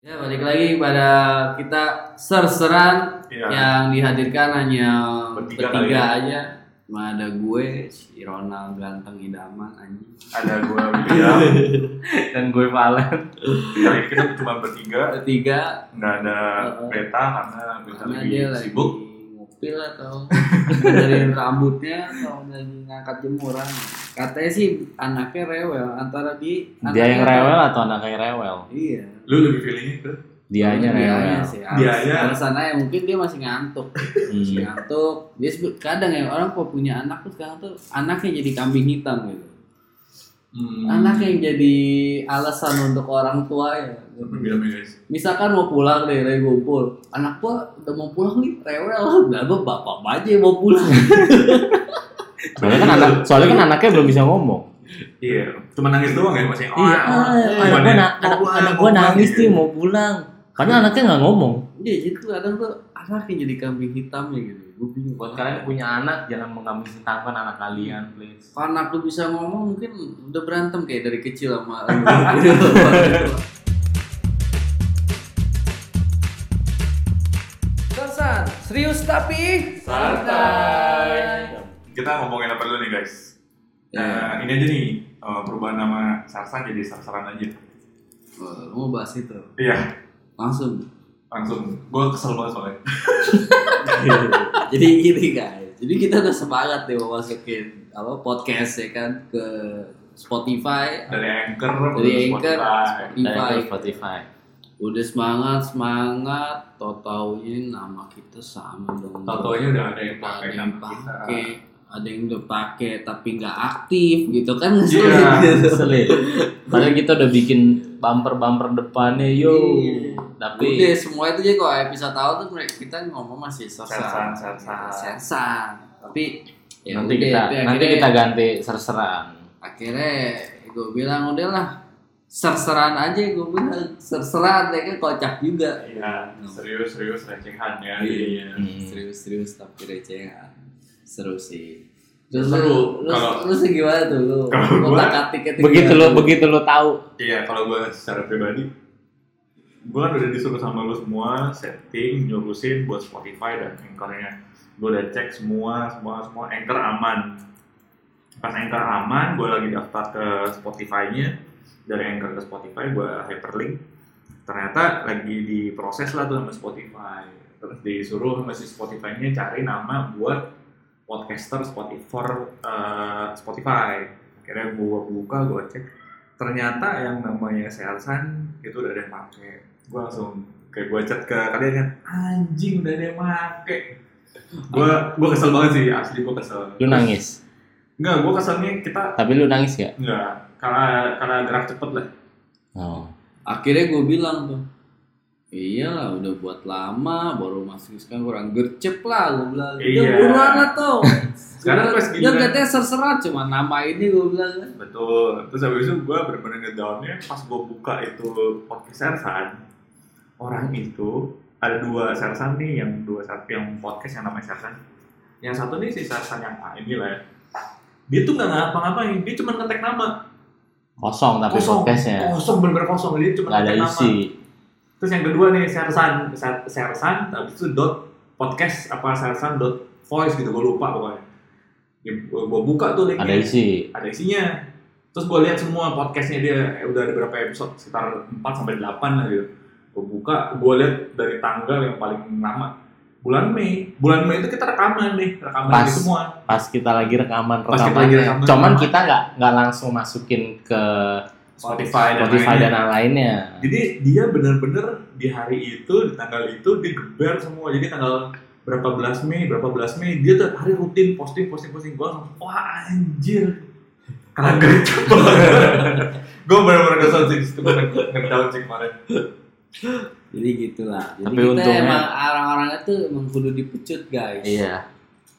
Ya balik lagi pada kita serseran Iya. yang dihadirkan hanya Bertiga bertiga, kali ya. aja. Cuma ada gue, si Ronald ganteng idaman anjing. ada gue William Dan gue Valen. kali ini kita cuma bertiga Bertiga nggak ada Heeh. beta karena beta karena lebih dia lagi sibuk ngupil atau dari rambutnya atau lagi ngangkat jemuran. Katanya sih anaknya rewel antara di Dia yang rewel atau anaknya yang rewel? Iya. Iya. lu lebih feelingnya ke Dianya rewel. sih. Dianya. Alasan- Alasannya ya mungkin dia masih ngantuk. Hmm. ngantuk dia sebe- kadang ya orang kalau punya anak tuh sekarang tuh anaknya jadi kambing hitam gitu hmm. anaknya gitu. yang jadi alasan untuk orang tua ya Berbeda guys misalkan mau pulang deh dari kumpul anak gua udah mau pulang nih rewel lah gua bapak aja yang mau pulang Soalnya kan anak, soalnya kan anaknya belum bisa ngomong. Iya. iya cuma nangis doang ya Iya. masih oh, Ah, anak gua na- anak- anak gua nangis ya. nih mau pulang. Karena anaknya nggak ngomong. iya jadi tuh kadang tuh anaknya jadi kambing hitam ya gitu gua bingung Buat kalian yang punya anak, jangan mengambil tangkan anak kalian, please. Kalau anak lu bisa ngomong mungkin udah berantem kayak dari kecil sama lu. Sersan, serius tapi Santai. kita ngomongin apa dulu nih guys Ya, Nah, ini aja nih eh, perubahan nama Sarsan jadi Sarsaran aja eh, lu mau bahas itu iya langsung. langsung gue kesel banget soalnya Jadi gini guys, jadi kita udah semangat nih mau masukin apa podcast ya kan ke Spotify, dari anchor dari ke Anchor, Spotify. Spotify. Dari Spotify. Udah semangat semangat, tau taunya nama kita sama dong. Tau-taunya udah ada yang ada pakai yang nama kita pakai ada yang udah pakai tapi nggak aktif gitu kan Iya. Selit. Padahal kita udah bikin bumper-bumper depannya, yo. Iya. udah Tapi semua itu aja kalau episode tahu tuh mereka kita ngomong masih sersan Sersan, sersan. sersan tapi ya nanti udah, kita itu nanti akhirnya- ya. kita ganti serseran. akhirnya gue bilang udahlah serseran aja gue bilang serseran mereka kocak juga iya serius serius recehan Iya. ya jadinya. Hmm. serius-serius tapi recehan seru sih terus lu Seru. lu, Kalau- lu gimana tuh lu Kalau gua- kotak-katiknya tuh Begitu gimana lo tuh? begitu lo tahu. Iya, kalau gue secara pribadi, gue kan udah disuruh sama lo semua setting, nyurusin buat Spotify dan Anchor-nya. Gue udah cek semua, semua, semua Anchor aman. Pas Anchor aman, gue lagi daftar ke Spotify-nya. Dari Anchor ke Spotify, gue hyperlink. Ternyata lagi diproses lah tuh sama Spotify. Terus disuruh sama si Spotify-nya cari nama buat podcaster Spotify for eh, Spotify. Akhirnya gue buka, gue cek ternyata yang namanya Selsan itu udah ada yang pakai gue langsung kayak gue chat ke kalian kan anjing udah ada yang pakai gue gue kesel banget sih asli gue kesel Lu nangis. enggak gue keselnya kita Tapi lu nangis gak? enggak karena karena gerak cepet lah Oh. akhirnya gue bilang tuh iyalah udah buat lama baru masuk sekarang kurang gercep lah gue bilang iya Iya. buruan lah tuh Sekarang pas gini ya kan. katanya serserat cuma nama ini gue bilang kan betul terus habis itu gue bener-bener ngedownnya pas gue buka itu podcast Selsan orang itu ada dua Selsan nih yang dua Selsan- yang podcast yang namanya Selsan yang satu nih si Selsan yang A ini lah ya dia tuh nggak ngapa-ngapain dia cuma ngetek nama Kosong tapi kosong Oh, podcastnya. kosong bener-bener kosong dia cuma Ya. nggak ada nama. isi terus yang kedua nih sersan Ser- sersan habis itu dot podcast apa sersan dot voice gitu gue lupa pokoknya ya, gua, gua buka tuh linknya ada isi ada isinya terus gue lihat semua podcastnya dia eh, udah ada berapa episode sekitar 4 sampai 8 lah gitu gue buka gue lihat dari tanggal yang paling lama bulan Mei bulan Mei itu kita rekaman nih rekaman Pas. ini semua pas kita lagi rekaman Pas kita lagi rekaman, rekamannya Iya, cuman rekaman. kita nggak nggak langsung masukin ke Spotify, dan Spotify lainnya. dan lain lainnya Jadi dia bener-bener di hari itu, di tanggal itu dia geber semua. Jadi tanggal berapa belas Mei, berapa belas Mei dia tiap hari rutin posting, posting, posting. Gue langsung wah anjir, kaget banget. gue bener-bener kesel sih, itu gue ngedown sih kemarin. jadi gitulah jadi Tapi kita untungnya- emang orang-orangnya tuh emang kudu dipecut guys iya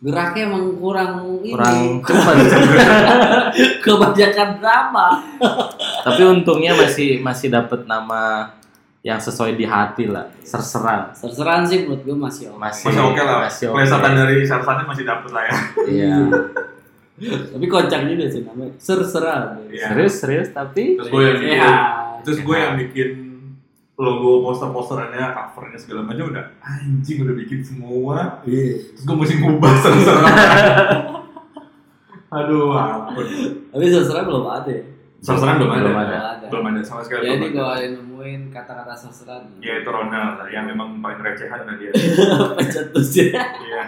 geraknya emang kurang ini kurang cepet kebanyakan drama tapi untungnya masih masih dapat nama yang sesuai di hati lah serseran serseran sih menurut gue masih oke Masih. Masih oke lah, Masih oke. plesetan dari Sarsannya masih dapet lah ya. iya tapi kocak juga sih namanya serseran Iya. serius serius tapi Terus gue yang bikin, Iya. terus gue yang bikin logo poster-posterannya, covernya segala macam udah anjing udah bikin semua. Iya. Terus gue mesti ngubah serang-serang. Aduh, ampun. Tapi sastra belum ada. ya? Serang-serang belum ada. Belum ada. Ya, Belum ada sama sekali. Jadi belum ada. kalau ada yang Ya, nemuin kata-kata sastra Ya itu Ronald yang memang paling recehan tadi ya. apa jatuhnya? Iya.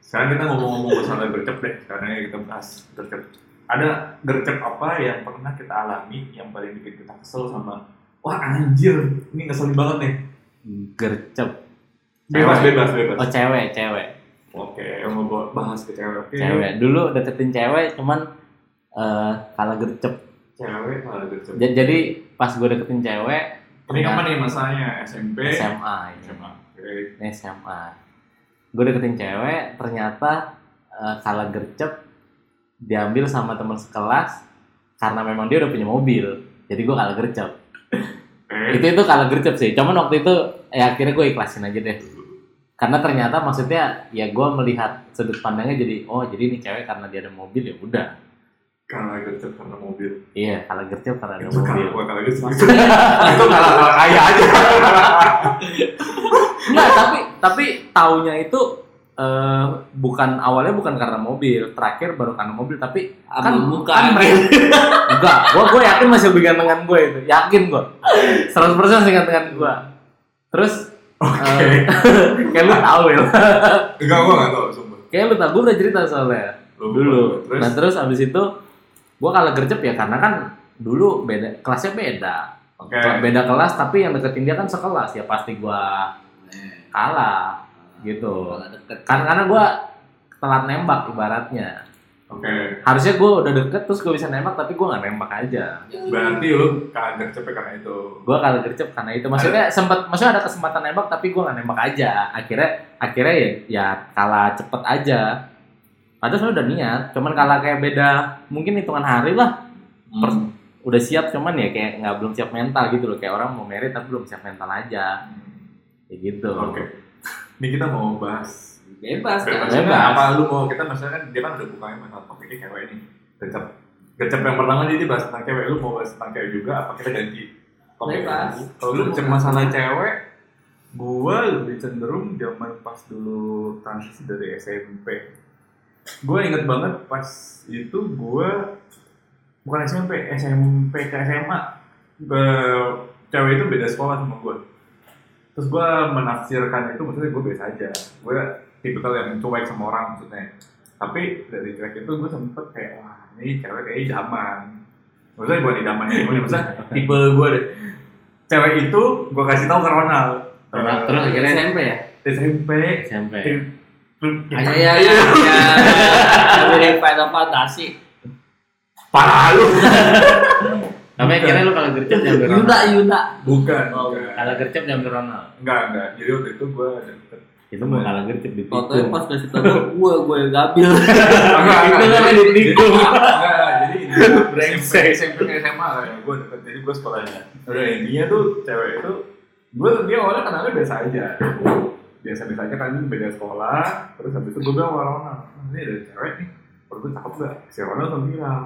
Sekarang kita ngomong-ngomong masalah gercep deh. Sekarang kita bahas gercep. Ada gercep apa yang pernah kita alami yang paling bikin kita kesel sama wah anjir ini ngeselin banget nih. gercep Bebas, Cewek. bebas, bebas. oh cewek cewek Oke, mau bawa- bahas ke cewek. Oke. cewek dulu deketin cewek cuman eh kalah gercep Cewek malah gercep. Ja- jadi pas gue deketin cewek Ini kapan nih masanya? SMP? SMA ya. SMA. Oke. Ini SMA gue deketin cewek ternyata eh, salah gercep diambil sama teman sekelas karena memang dia udah punya mobil jadi gue kalah gercep Oke. itu itu kalah gercep sih cuman waktu itu ya akhirnya gue ikhlasin aja deh karena ternyata maksudnya ya gue melihat sudut pandangnya jadi oh jadi ini cewek karena dia ada mobil ya udah Kalah gercep karena mobil. iya kalah gercep karena ada Itu kan. mobil kalah, gua kalah gercep. itu kalah kalah kaya aja. Enggak, tapi tapi taunya itu eh, bukan awalnya bukan karena mobil, terakhir baru karena mobil, tapi Kan bukan. kan mereka- enggak, gua gua yakin masih lebih gantengan gue itu, yakin gua. 100% masih gantengan gua. Terus Oke. eh, kayak lu tahu ya. Enggak, gua nggak tahu sumpah. Kayak lu tahu gua udah cerita soalnya Lu dulu. Terus Nah, terus abis itu gua kalah gercep ya karena kan dulu beda kelasnya beda. Oke. Beda kelas tapi yang deketin dia kan sekelas ya pasti gua kalah gitu. Kalau deket karena karena gue telat nembak ibaratnya Oke. harusnya gue udah deket terus gue bisa nembak tapi gue nggak nembak aja Berarti lu kaget cepet karena itu. gue kalah gercep karena itu maksudnya sempat maksudnya ada kesempatan nembak tapi gue nggak nembak aja akhirnya akhirnya ya, ya kalah cepet aja padahal saya udah niat cuman kalah kayak beda mungkin hitungan hari lah Per- Hmm. udah siap cuman ya kayak nggak belum siap mental gitu loh kayak orang mau merit tapi belum siap mental aja kayak gitu Oke. Ini kita mau bahas. bebas kan. Bebas. Bebas. Apa lu mau kita maksudnya kan dia kan udah bukain masalah topiknya cewek ini. Gercep. Gercep yang pertama jadi bahas tentang cewek. Lu mau bahas tentang cewek juga apa kita ganti topik Bebas. lagi? Kalau lu gercep masalah cewek, gua lebih cenderung zaman pas dulu transisi dari SMP. Gua inget banget pas itu gua bukan SMP, SMP ke SMA. Be- cewek itu beda sekolah sama gua. Terus gua menafsirkan itu maksudnya gua biasa aja. Gua tipikal yang cuek sama orang maksudnya. Tapi dari cuek itu gua sempet kayak wah ini cewek kayaknya idaman. Maksudnya bukan idaman ya, gua maksudnya tipe gua deh. Cewek itu gua kasih tahu ke Ronald. Ronald, terus Eh, akhirnya- SMP ya? SMP. SMP eh, Ayo ya ya. Dari Final Fantasy. Parah lu. tapi akhirnya lu kalah gercep jangan Yuna Yuna. Bukan. Oh, bukan. kalah gercep jangan Ronald Enggak, enggak. Jadi waktu itu gua deket. itu mau kalah gercep di Fotonya pas kasih tau gue gue yang ngambil. Enggak, Itu enggak. namanya Jadi- ditikung. jadi- enggak, enggak. Jadi ini, Brengsek. SMP ke SMA lah ya. Gue deket, jadi gue sekolahnya. Udah intinya tuh cewek itu, gue dia awalnya kenalnya biasa aja. Biasa-biasa aja kan beda sekolah. Terus habis itu gue bilang sama Ronald, "Hmm, ini ada cewek nih. Menurut gue cakep gak? Si Ronald langsung bilang,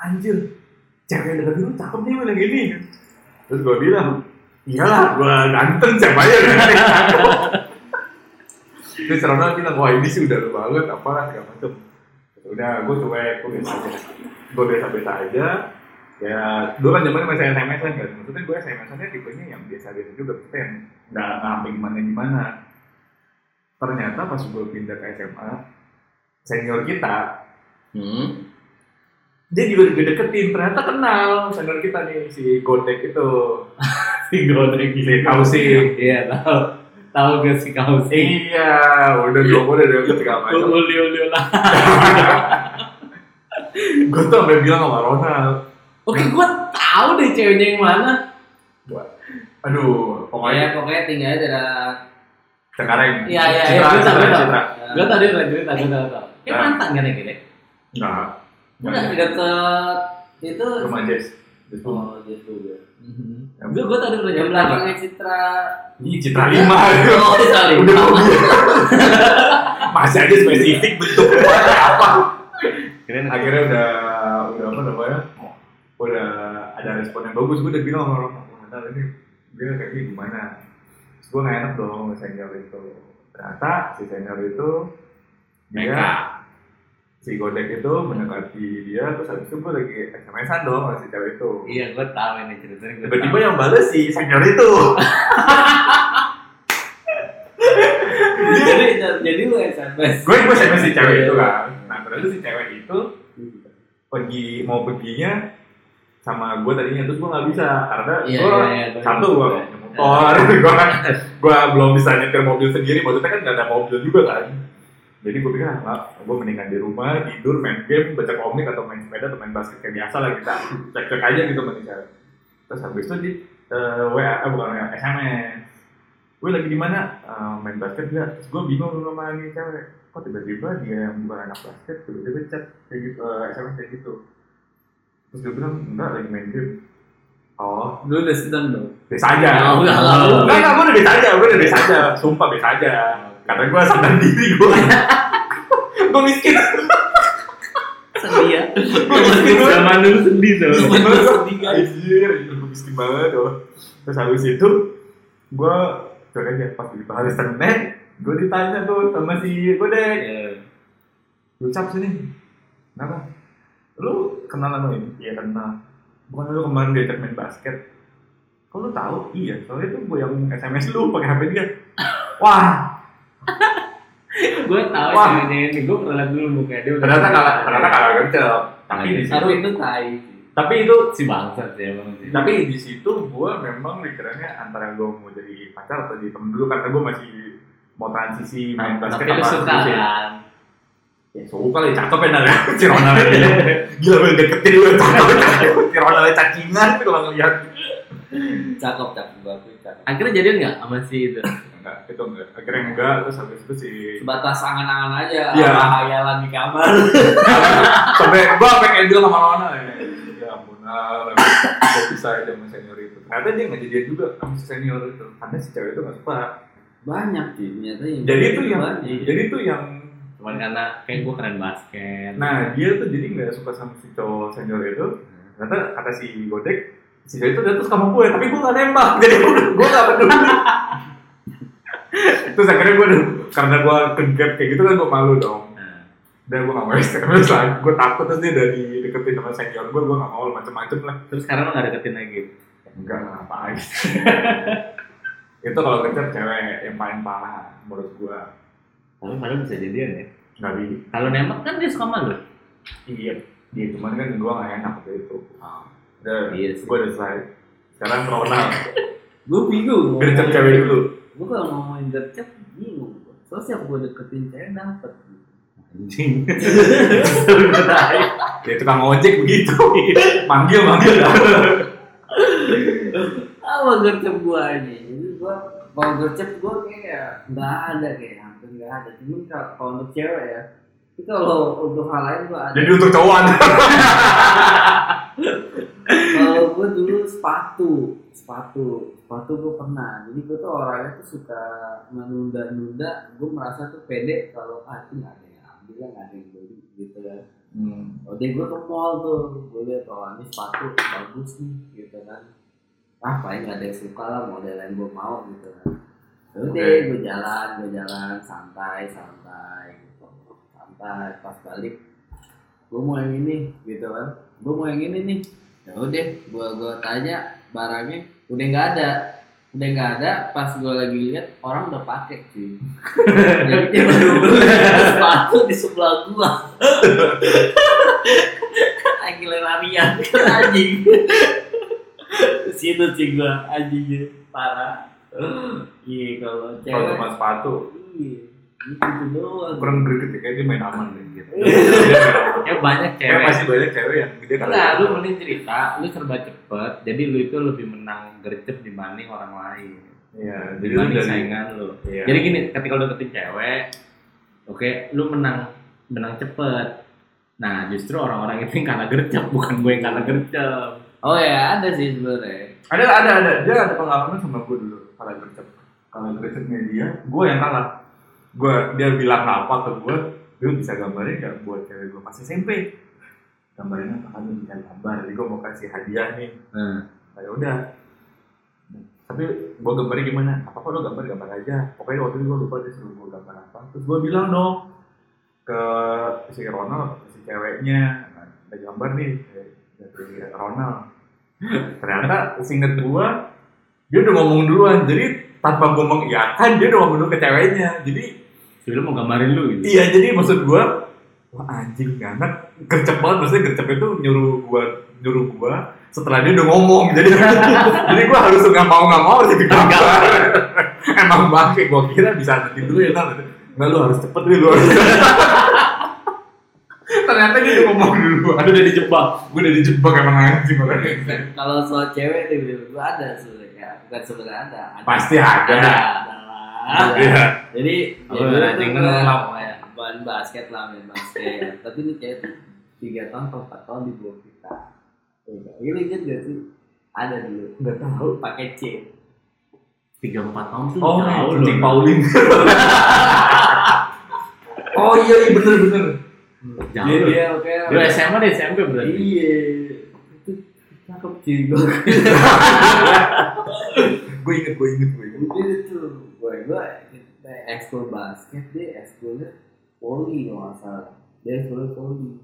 anjir, cewek yang deketin lu cakep nih bilang gini. Terus gue bilang, iyalah gue ganteng siapa aja yang deketin cakep." Terus Ronald bilang, wah ini sih udah lu banget, apa segala macem udah gue cuek gue biasa aja gue biasa biasa aja ya dulu kan zamannya masih sms an kan maksudnya gue sms annya tipenya yang biasa biasa juga maksudnya yang nggak nggak sampai gimana gimana ternyata pas gue pindah ke SMA senior kita Hmm. dia juga juga deketin ternyata kenal senior kita nih si Godek itu Si Godrek si Kausi Iya, tahu. Tahu gak si Kausi? iya udah gue udah udah segala macam Ulio ulio lah. gue tuh sampai bilang sama Ronald Oke, gue tahu deh ceweknya yang mana. aduh Pokoknya pokoknya pokoknya tinggalnya dari sekarang Iya, iya, iya, Citra, gue Citra, tahu, gue tahu. Citra. Gue tadi udah cerita, gue tahu tahu. Kayak Nah. mantan kan ya gini. Enggak. Udah deket itu. Rumah Jess. Oh gitu ya. Gue gue tadi udah Yang cerita. belakangnya Citra. Ini Citra 5. Oh sorry. Udah mau Masih aja spesifik bentuk rumahnya apa. Akhirnya udah udah apa namanya? Udah ada respon yang bagus. Gue udah bilang sama orang mental ini dia kayaknya gimana terus gue nggak enak dong sama senior itu ternyata si senior itu Mereka. dia si Godek itu mendekati dia terus habis itu gue lagi SMS-an dong sama si cewek itu Iya, gue tahu ini ceritanya. gua tiba-tiba tahu. yang bales si senior itu jadi jadi lu SMS. gue gue SMS si cewek itu kan nah berarti si cewek itu pergi mau perginya sama gue tadinya terus gue nggak bisa karena Iya, gue iya, iya, gua ingat, satu gue gua punya motor gue kan gue belum bisa nyetir mobil sendiri maksudnya kan nggak ada mobil juga kan jadi gue pikir ah gue mendingan di rumah tidur main game baca komik atau main sepeda atau main basket kayak biasa lah kita cek cek aja gitu mendingan terus habis itu di eh, WA eh, bukan WA SMS gue lagi di mana Eh, main basket nggak terus gue bingung sama ini cewek kok tiba-tiba dia yang bukan anak basket tiba-tiba chat kayak gitu eh, SMS kayak gitu terus dia bilang enggak lagi main game oh Lu udah sedang dong. biasa aja Oh, enggak, enggak, enggak. enggak enggak gue udah biasa aja gue udah biasa aja sumpah biasa aja karena gue sadar diri gue gue miskin Sedih ya. gue miskin gue Zaman dulu Kan sedih sama. Zaman Zaman dulu sedih guys. anjir gue miskin banget loh terus habis itu gue coba aja pas di hari senin gue ditanya tuh sama si gue lu cap sini kenapa lu kenal sama ini iya kenal bukan lu kemarin diajak main basket kok lu tahu iya soalnya tuh gue yang sms lu pakai hp dia wah Gue tahu Wah. ceweknya ini. Gue pernah liat dulu mukanya dia. udah- ternyata kalah ternyata kalah kencel tapi di situ Tapi itu tai. Iya, tapi itu si bangsat sih emang sih. tapi di situ gue memang pikirannya antara gue mau jadi pacar atau jadi temen dulu karena gue masih mau transisi main Tapi basket lu apa suka gitu ya. kan? Ya, suka lah, cakep ya nara si Ronald ya. gila gue deketin gue cakep cakep si Ronald cacingan tuh kalau ngeliat Cakep cakep gua aku cakep. Akhirnya jadian nggak sama si itu? enggak itu enggak akhirnya enggak terus habis itu si Sebatas angan-angan aja. Iya. sama Hayalan di kamar. sampai gua sampai kayak bilang sama Rona ya ya ampun Al, kok bisa aja sama senior itu ternyata dia nggak jadian juga sama si senior itu karena si cewek itu nggak suka Banyak sih ternyata yang. gitu jadi itu yang banyak. jadi itu yang Cuman karena kayak gue keren basket. nah dia tuh jadi nggak suka sama si cowok senior itu ternyata kata si Godek si cewek itu dia tuh suka sama gue tapi gue nggak nembak jadi gue nggak peduli terus akhirnya gue karena gue kegap kayak gitu kan gue malu dong Nah. udah gue gak mau SMS lah gue takut terus dia dari deketin sama senior gue gue gak mau macem-macem lah Terus sekarang lo nggak deketin lagi. enggak lah ngapain itu kalau kejar cewek yang paling parah menurut gue Tapi padahal bisa jadian ya. nggak di Kalau nembak kan dia suka sama lo. iya iya cuman kan gue gak enak waktu itu udah Iya sih. gue udah selesai sekarang Ronald Gue bingung. gercep cewek dulu Gue kalau ngomongin gercep bingung. gua. Soalnya siapa gue deketin cewek dapet. Anjing. Seru banget. dia tukang ojek begitu manggil manggil Apa gercep gue ini? Jadi gue kalau gercep gue kayak ya, nggak ada kayak hampir nggak ada. Cuman kalau kalau untuk cewek ya. Itu kalau untuk hal lain gue ada. jadi untuk cowok kalau gue dulu sepatu sepatu sepatu gue pernah jadi gue tuh orangnya tuh suka menunda-nunda gue merasa tuh pede kalau ah itu nggak ada yang ambil lah, nggak ada yang beli gitu kan Hmm. udah gue ke mall tuh gue lihat oh ini sepatu bagus nih gitu kan ah paling nggak ada yang suka lah model yang gue mau gitu kan udah Oke. gue jalan gue jalan santai santai gitu santai pas balik gue mau yang ini gitu kan gue mau yang ini nih ya udah gue gue tanya barangnya udah nggak ada udah nggak ada pas gue lagi lihat orang udah pakai cuy jadi dia baru beli sepatu di sebelah gua lagi larian kan, anjing situ sih gua anjingnya parah iya kalau kalau cewek cuma sepatu iya itu doang kurang greget ya kayaknya dia main aman deh gitu Dia main aman. Ya banyak Kayak cewek. masih banyak cewek yang ya. dia kalau Enggak, lu mending cerita, lu serba cepet, jadi lu itu lebih menang gercep dibanding orang lain. Iya, jadi lu Dibanding dari saingan lu. Iya. Jadi gini, ketika lu deketin cewek, oke, lu menang menang cepet. Nah, justru orang-orang itu yang kalah gercep, bukan gue yang kalah gercep. oh ya ada sih sebenarnya ada ada ada dia ada pengalaman sama gue dulu kalah gercep kalah gercepnya dia gue yang kalah gue dia bilang apa ke gue lu bisa gambarin gak buat cewek gue pas SMP gambarin apa kan lu bisa gambar jadi gue mau kasih hadiah nih Hmm. kayak udah tapi gue gambarnya gimana apa apa lo gambar gambar aja pokoknya waktu itu gue lupa dia suruh gue gambar apa terus gue bilang dong ke si Ronald si ceweknya nah, ada gambar nih eh, dari Ronald ternyata singkat gue dia udah ngomong duluan jadi tanpa gue mengiyakan kan, dia udah ngomong dulu ke ceweknya jadi Sebelum mau gambarin lu gitu. Iya jadi maksud gua wah anjing nih anak gercep banget maksudnya gercep itu nyuruh gua nyuruh gua setelah dia udah ngomong jadi jadi gua harus nggak mau nggak mau harus ikut gambar emang bangke gua kira bisa nanti dulu ya ntar nggak lu harus cepet nih lu harus ternyata dia udah ngomong dulu aduh udah dijebak gua udah dijebak emang anjing makanya Kalau soal cewek nih, Bil, gua ada sebenarnya. Bukan sebenarnya ada. ada. pasti ada. ada ada lah. Iya. Jadi Apa ya, dulu anjing tuh lu pernah ngelap, ya? main basket lah, main basket. Tapi ini kayak tuh tiga tahun atau empat tahun di bawah kita. Iya, Ini kan gak sih? Ada dulu. nggak tahu Pakai C. Tiga empat tahun tuh oh jauh lu. anjing Pauline oh iya iya bener bener Jauh Iya, Jadi lu. dia oke. Lu SMA deh SMP berarti. Iya. Itu cakep juga. gue inget gue inget gue inget Mungkin itu gue gue kita ekskul basket dia ekskulnya poli kalau nggak salah dia ekskulnya poli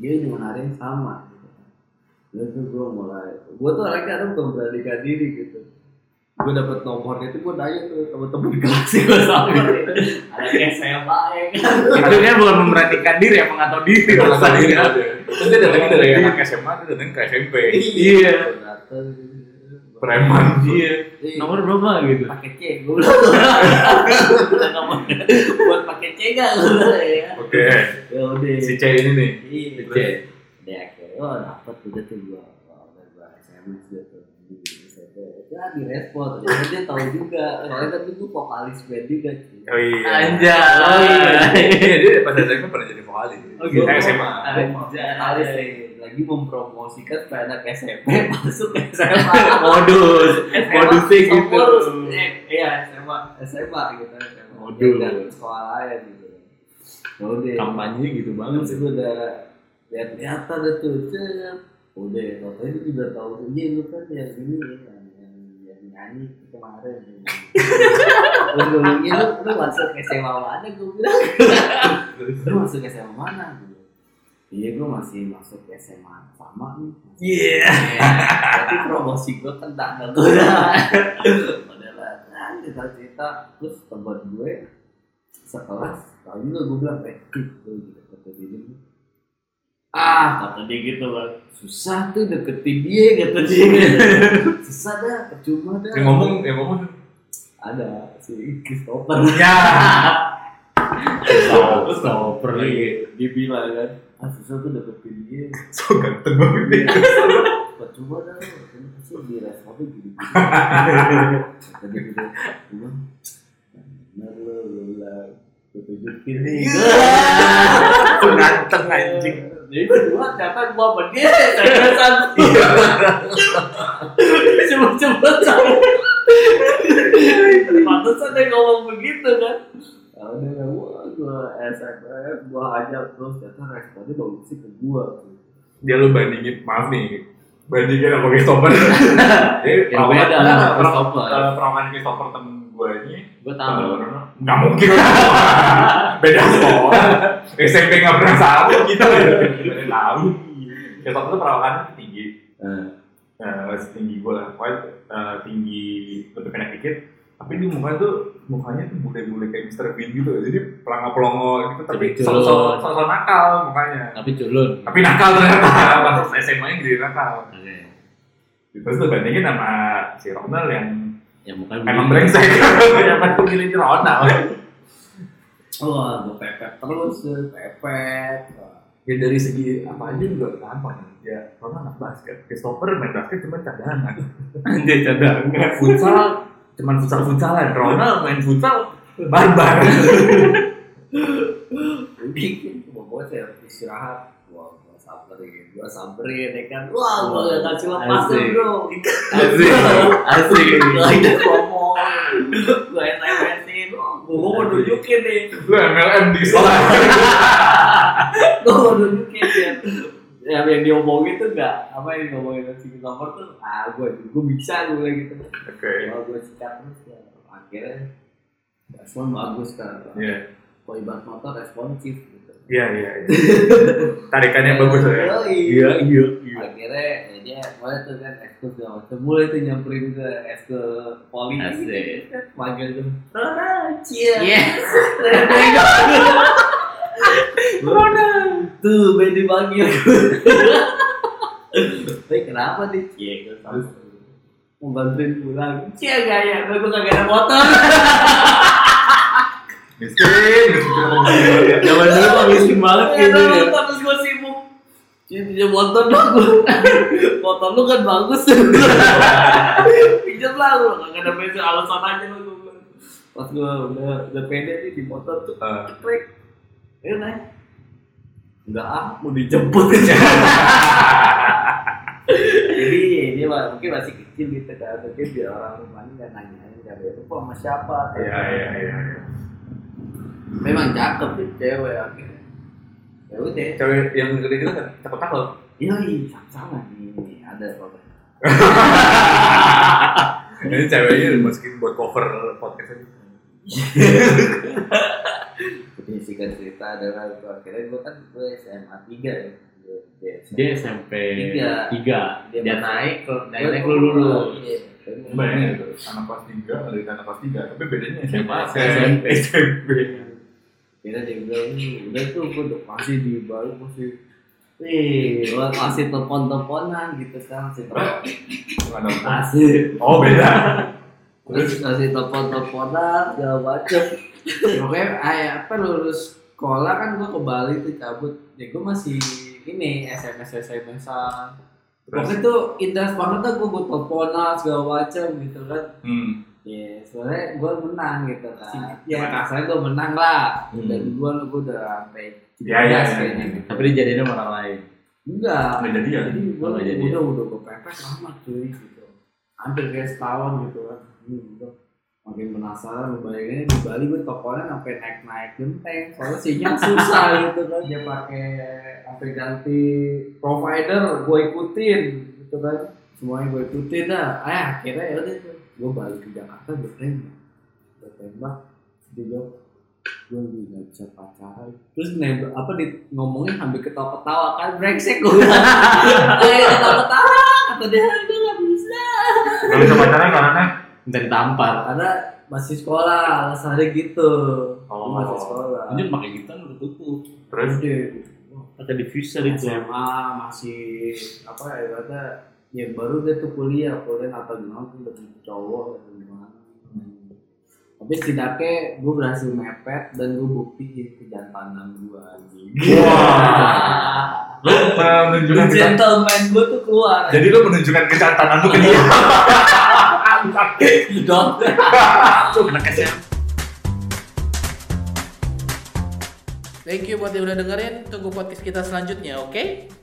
dia cuma hari yang sama gitu. Lalu tuh gue mulai gue tuh orangnya kadang bukan beranikan diri gitu gue dapet nomornya itu gue nanya tuh temen-temen kelas gue sama ada SMA ya kan Itu kan bukan memberanikan diri, ya, emang nggak tahu diri rasanya. Iya, Terus dia datangnya dari anak SMA, dia datang ke SMP. Iya. Dateng, gua- Preman. Iya. Iya. Nomor berapa gitu? pakai C gue bilang buat pakai C gak gue ya Oke. ya udah Si C ini nih. Iya, Terus? terus Udah akhirnya, oh dapet udah tuh gua Wah, udah gua SMS dia tuh di SMP Ya direspon, ternyata dia tahu juga Soalnya kan itu vokalis band juga cuy Oh iya. Anjay. Iya, dia pas SMA pernah jadi vokalis. Oh, gitu. Eh, SMA. Vokalis nih, lagi mempromosikan supaya anak SMP masuk SMA Modus. Modusnya SMA, gitu. Soporus. Eh, Iya SMA, SMA gitu SMA. Waduh. Ya udah, Sekolah aja gitu Ya udah Kampanye gitu banget terus sih. gue udah lihat lihat ada tuh cet. udah waktu itu juga tahu tuh ini lu kan yang ini ya, yang yang yang nyanyi kemarin lu ngomongin "Iya, lu lu masuk SMA mana gue bilang lu masuk SMA mana Gua bilang, iya gue masih masuk SMA sama nih Iya. Ya, tapi promosi kan gue kena nggak gue padahal kan cerita cerita terus tempat gue sekelas tahun itu gue bilang eh gue juga kata dia gitu. ah kata dia gitu lah susah tuh deketin dia kata dia gitu. susah dah percuma dah Yang ngomong, yang ngomong. ada si Christopher Ya. Stop, stop, lagi. dia bilang kan ah susah tuh deketin dia So ganteng banget. percuma dah kenapa sih di responnya gini kata dia gitu gue bilang, bener lo lo lah gue tunjukin nih So ganteng anjing. jadi kedua ternyata gua sama dia saya satu coba-coba sama pantesan dia ngomong begitu kan ya udah ya gua gua SFF gua ajak terus ternyata responnya bagus sih ke gua Dia lu bandingin, maaf nih. Bandingin sama Christopher. Jadi, Yang beda perawakan- sama perawakan- Christopher. eh, Perawakan Christopher temen gue ini Gue Kalau tahu. Rono, nggak mungkin beda sekolah SMP nggak pernah sama kita beda tahu ya tapi tuh perawakannya tinggi nah, tinggi gue lah pokoknya eh, tinggi lebih pendek dikit tapi di muka tuh mukanya tuh bule-bule kayak Mr. Bean gitu jadi pelongo-pelongo gitu tapi Tapi culun. sosok sosok nakal mukanya Tapi culun. tapi nakal ternyata pas SMA nya jadi nakal Oke. terus tuh bandingin sama si Ronald yang Ya mukanya emang begitu. brengsek emang tuh gini Ronald Wah, gue Oh, pepet terus, eh, pepet. ya dari segi apa aja juga gampang ya Roma anak basket Christopher main basket cuma cadangan Anjay, cadang. futsal cuma futsal futsalan Ronald main futsal barbar Bikin, bawa saya ya, istirahat. Wah, gua samperin, gua samperin ya kan. Wah, gua gak kasih lepas tuh, Asik. bro. Asik. Asik. iya. Lagi ngomong, gua SMS-in. Wah, Gua mau nunjukin nih, lu MLM di sekolah gua mau nunjukin ya. yang yang diomongin tuh nggak apa yang diomongin sama si Christopher tuh ah gue gue bisa gue bilang gitu Oke. kalau gue sikat terus ya akhirnya respon bagus kan Iya. kalau ibarat motor responsif gitu Iya, iya, iya. Tarikannya bagus ya. Yoi. Iya, iya, iya. akhirnya ya dia mulai tuh kan ekskul segala macam mulai tuh nyamperin ke ekskul poli gitu Asik. kan manggil tuh Rona cia Iya. Rona tuh bayi dipanggil tapi kenapa nih cia gue sama mau bantuin pulang cia gak ya gue gue kagak ada motor Miskin. Zaman dulu Iya, mah miskin banget Gak gitu ada motor ya. iya, terus gue sibuk cia pinjam motor dong motor lu kan bagus pinjam lah lu gak ada bensin alasan aja lu gue bilang. pas gue udah udah pede nih di motor tuh Eh, klik ayo naik enggak ah mau dijemput aja Iya, jadi ini mah mungkin masih kecil gitu kan tapi biar orang rumahnya nggak nanyain kan ya lu kok sama siapa Iya, iya, iya. memang cakep sih cewek akhirnya ya udah Cewek yang gede gitu kan takut takut. yoi sama nih ada apa Ini ceweknya dimasukin buat cover podcast aja. Jadi singkat cerita adalah gua- akhirnya gue kan gue SMA 3 ya. Gua- Dia Dia SMP Tiga. tiga. Dia Dia masuk. naik, ke- Gua- naik, naik gua- lu lulus. Iya. Bayangin itu, anak kelas 3 dari anak kelas 3, tapi bedanya SMA, SMP. SMP. Kira dia bilang, "Hmm, udah tuh gue udah pasti di baru masih Wih, gue masih telepon-teleponan gitu kan masih telepon. Bukan apa. Masih, Oh, beda. terus masih telepon-teleponan segala macem. Pokoknya, ay, apa lulus sekolah kan gue ke Bali tuh cabut. Ya gue masih ini SMS SMS-an. Terus, Pokoknya tuh intens banget tuh gue buat teleponan segala macam gitu kan. hmm. Ya sebenarnya gue menang gitu kan. Ya kasarnya gue menang lah. Hmm. Dan gue gue udah sampai Ya, ya, ya, kayaknya. ya. Tapi dia jadinya sama orang lain. Enggak. Nggak jadi ya? Jadi gue Oh, nggak jadi udah udah gue pepes lama cuy gitu. Hampir kayak setahun gitu kan. Hmm, udah. Makin penasaran bayanginnya di Bali gue teleponnya sampai naik naik genteng. Soalnya sinyal susah gitu kan. Dia pakai sampai ganti provider gue ikutin gitu kan. Semuanya gue ikutin dah. Eh akhirnya ya udah gue balik ke Jakarta gue tembak. Gue tembak. Dia jawab, gue nggak bisa pacaran terus nembak apa di ngomongnya sambil ketawa-ketawa kan brengsek gue kayak Iya, ketawa-ketawa kata dia gue nggak bisa Gak bisa pacaran kan, karena Minta ditampar. karena masih sekolah alasannya gitu Oh. masih sekolah Anjir pakai gitu udah tutup. terus Udah. Pakai diffuser itu. SMA masih apa ya kata ya baru dia tuh kuliah kuliah atau gimana tuh lebih ke cowok atau gimana tapi setidaknya gue berhasil mepet dan gue buktiin kejantanan gue anjing Wah. lu menunjukkan kecantanan. gentleman gue tuh keluar Jadi lu menunjukkan kecantanan lu ke dia. dong Anak SMA. Thank you buat yang udah dengerin. Tunggu podcast kita selanjutnya, oke?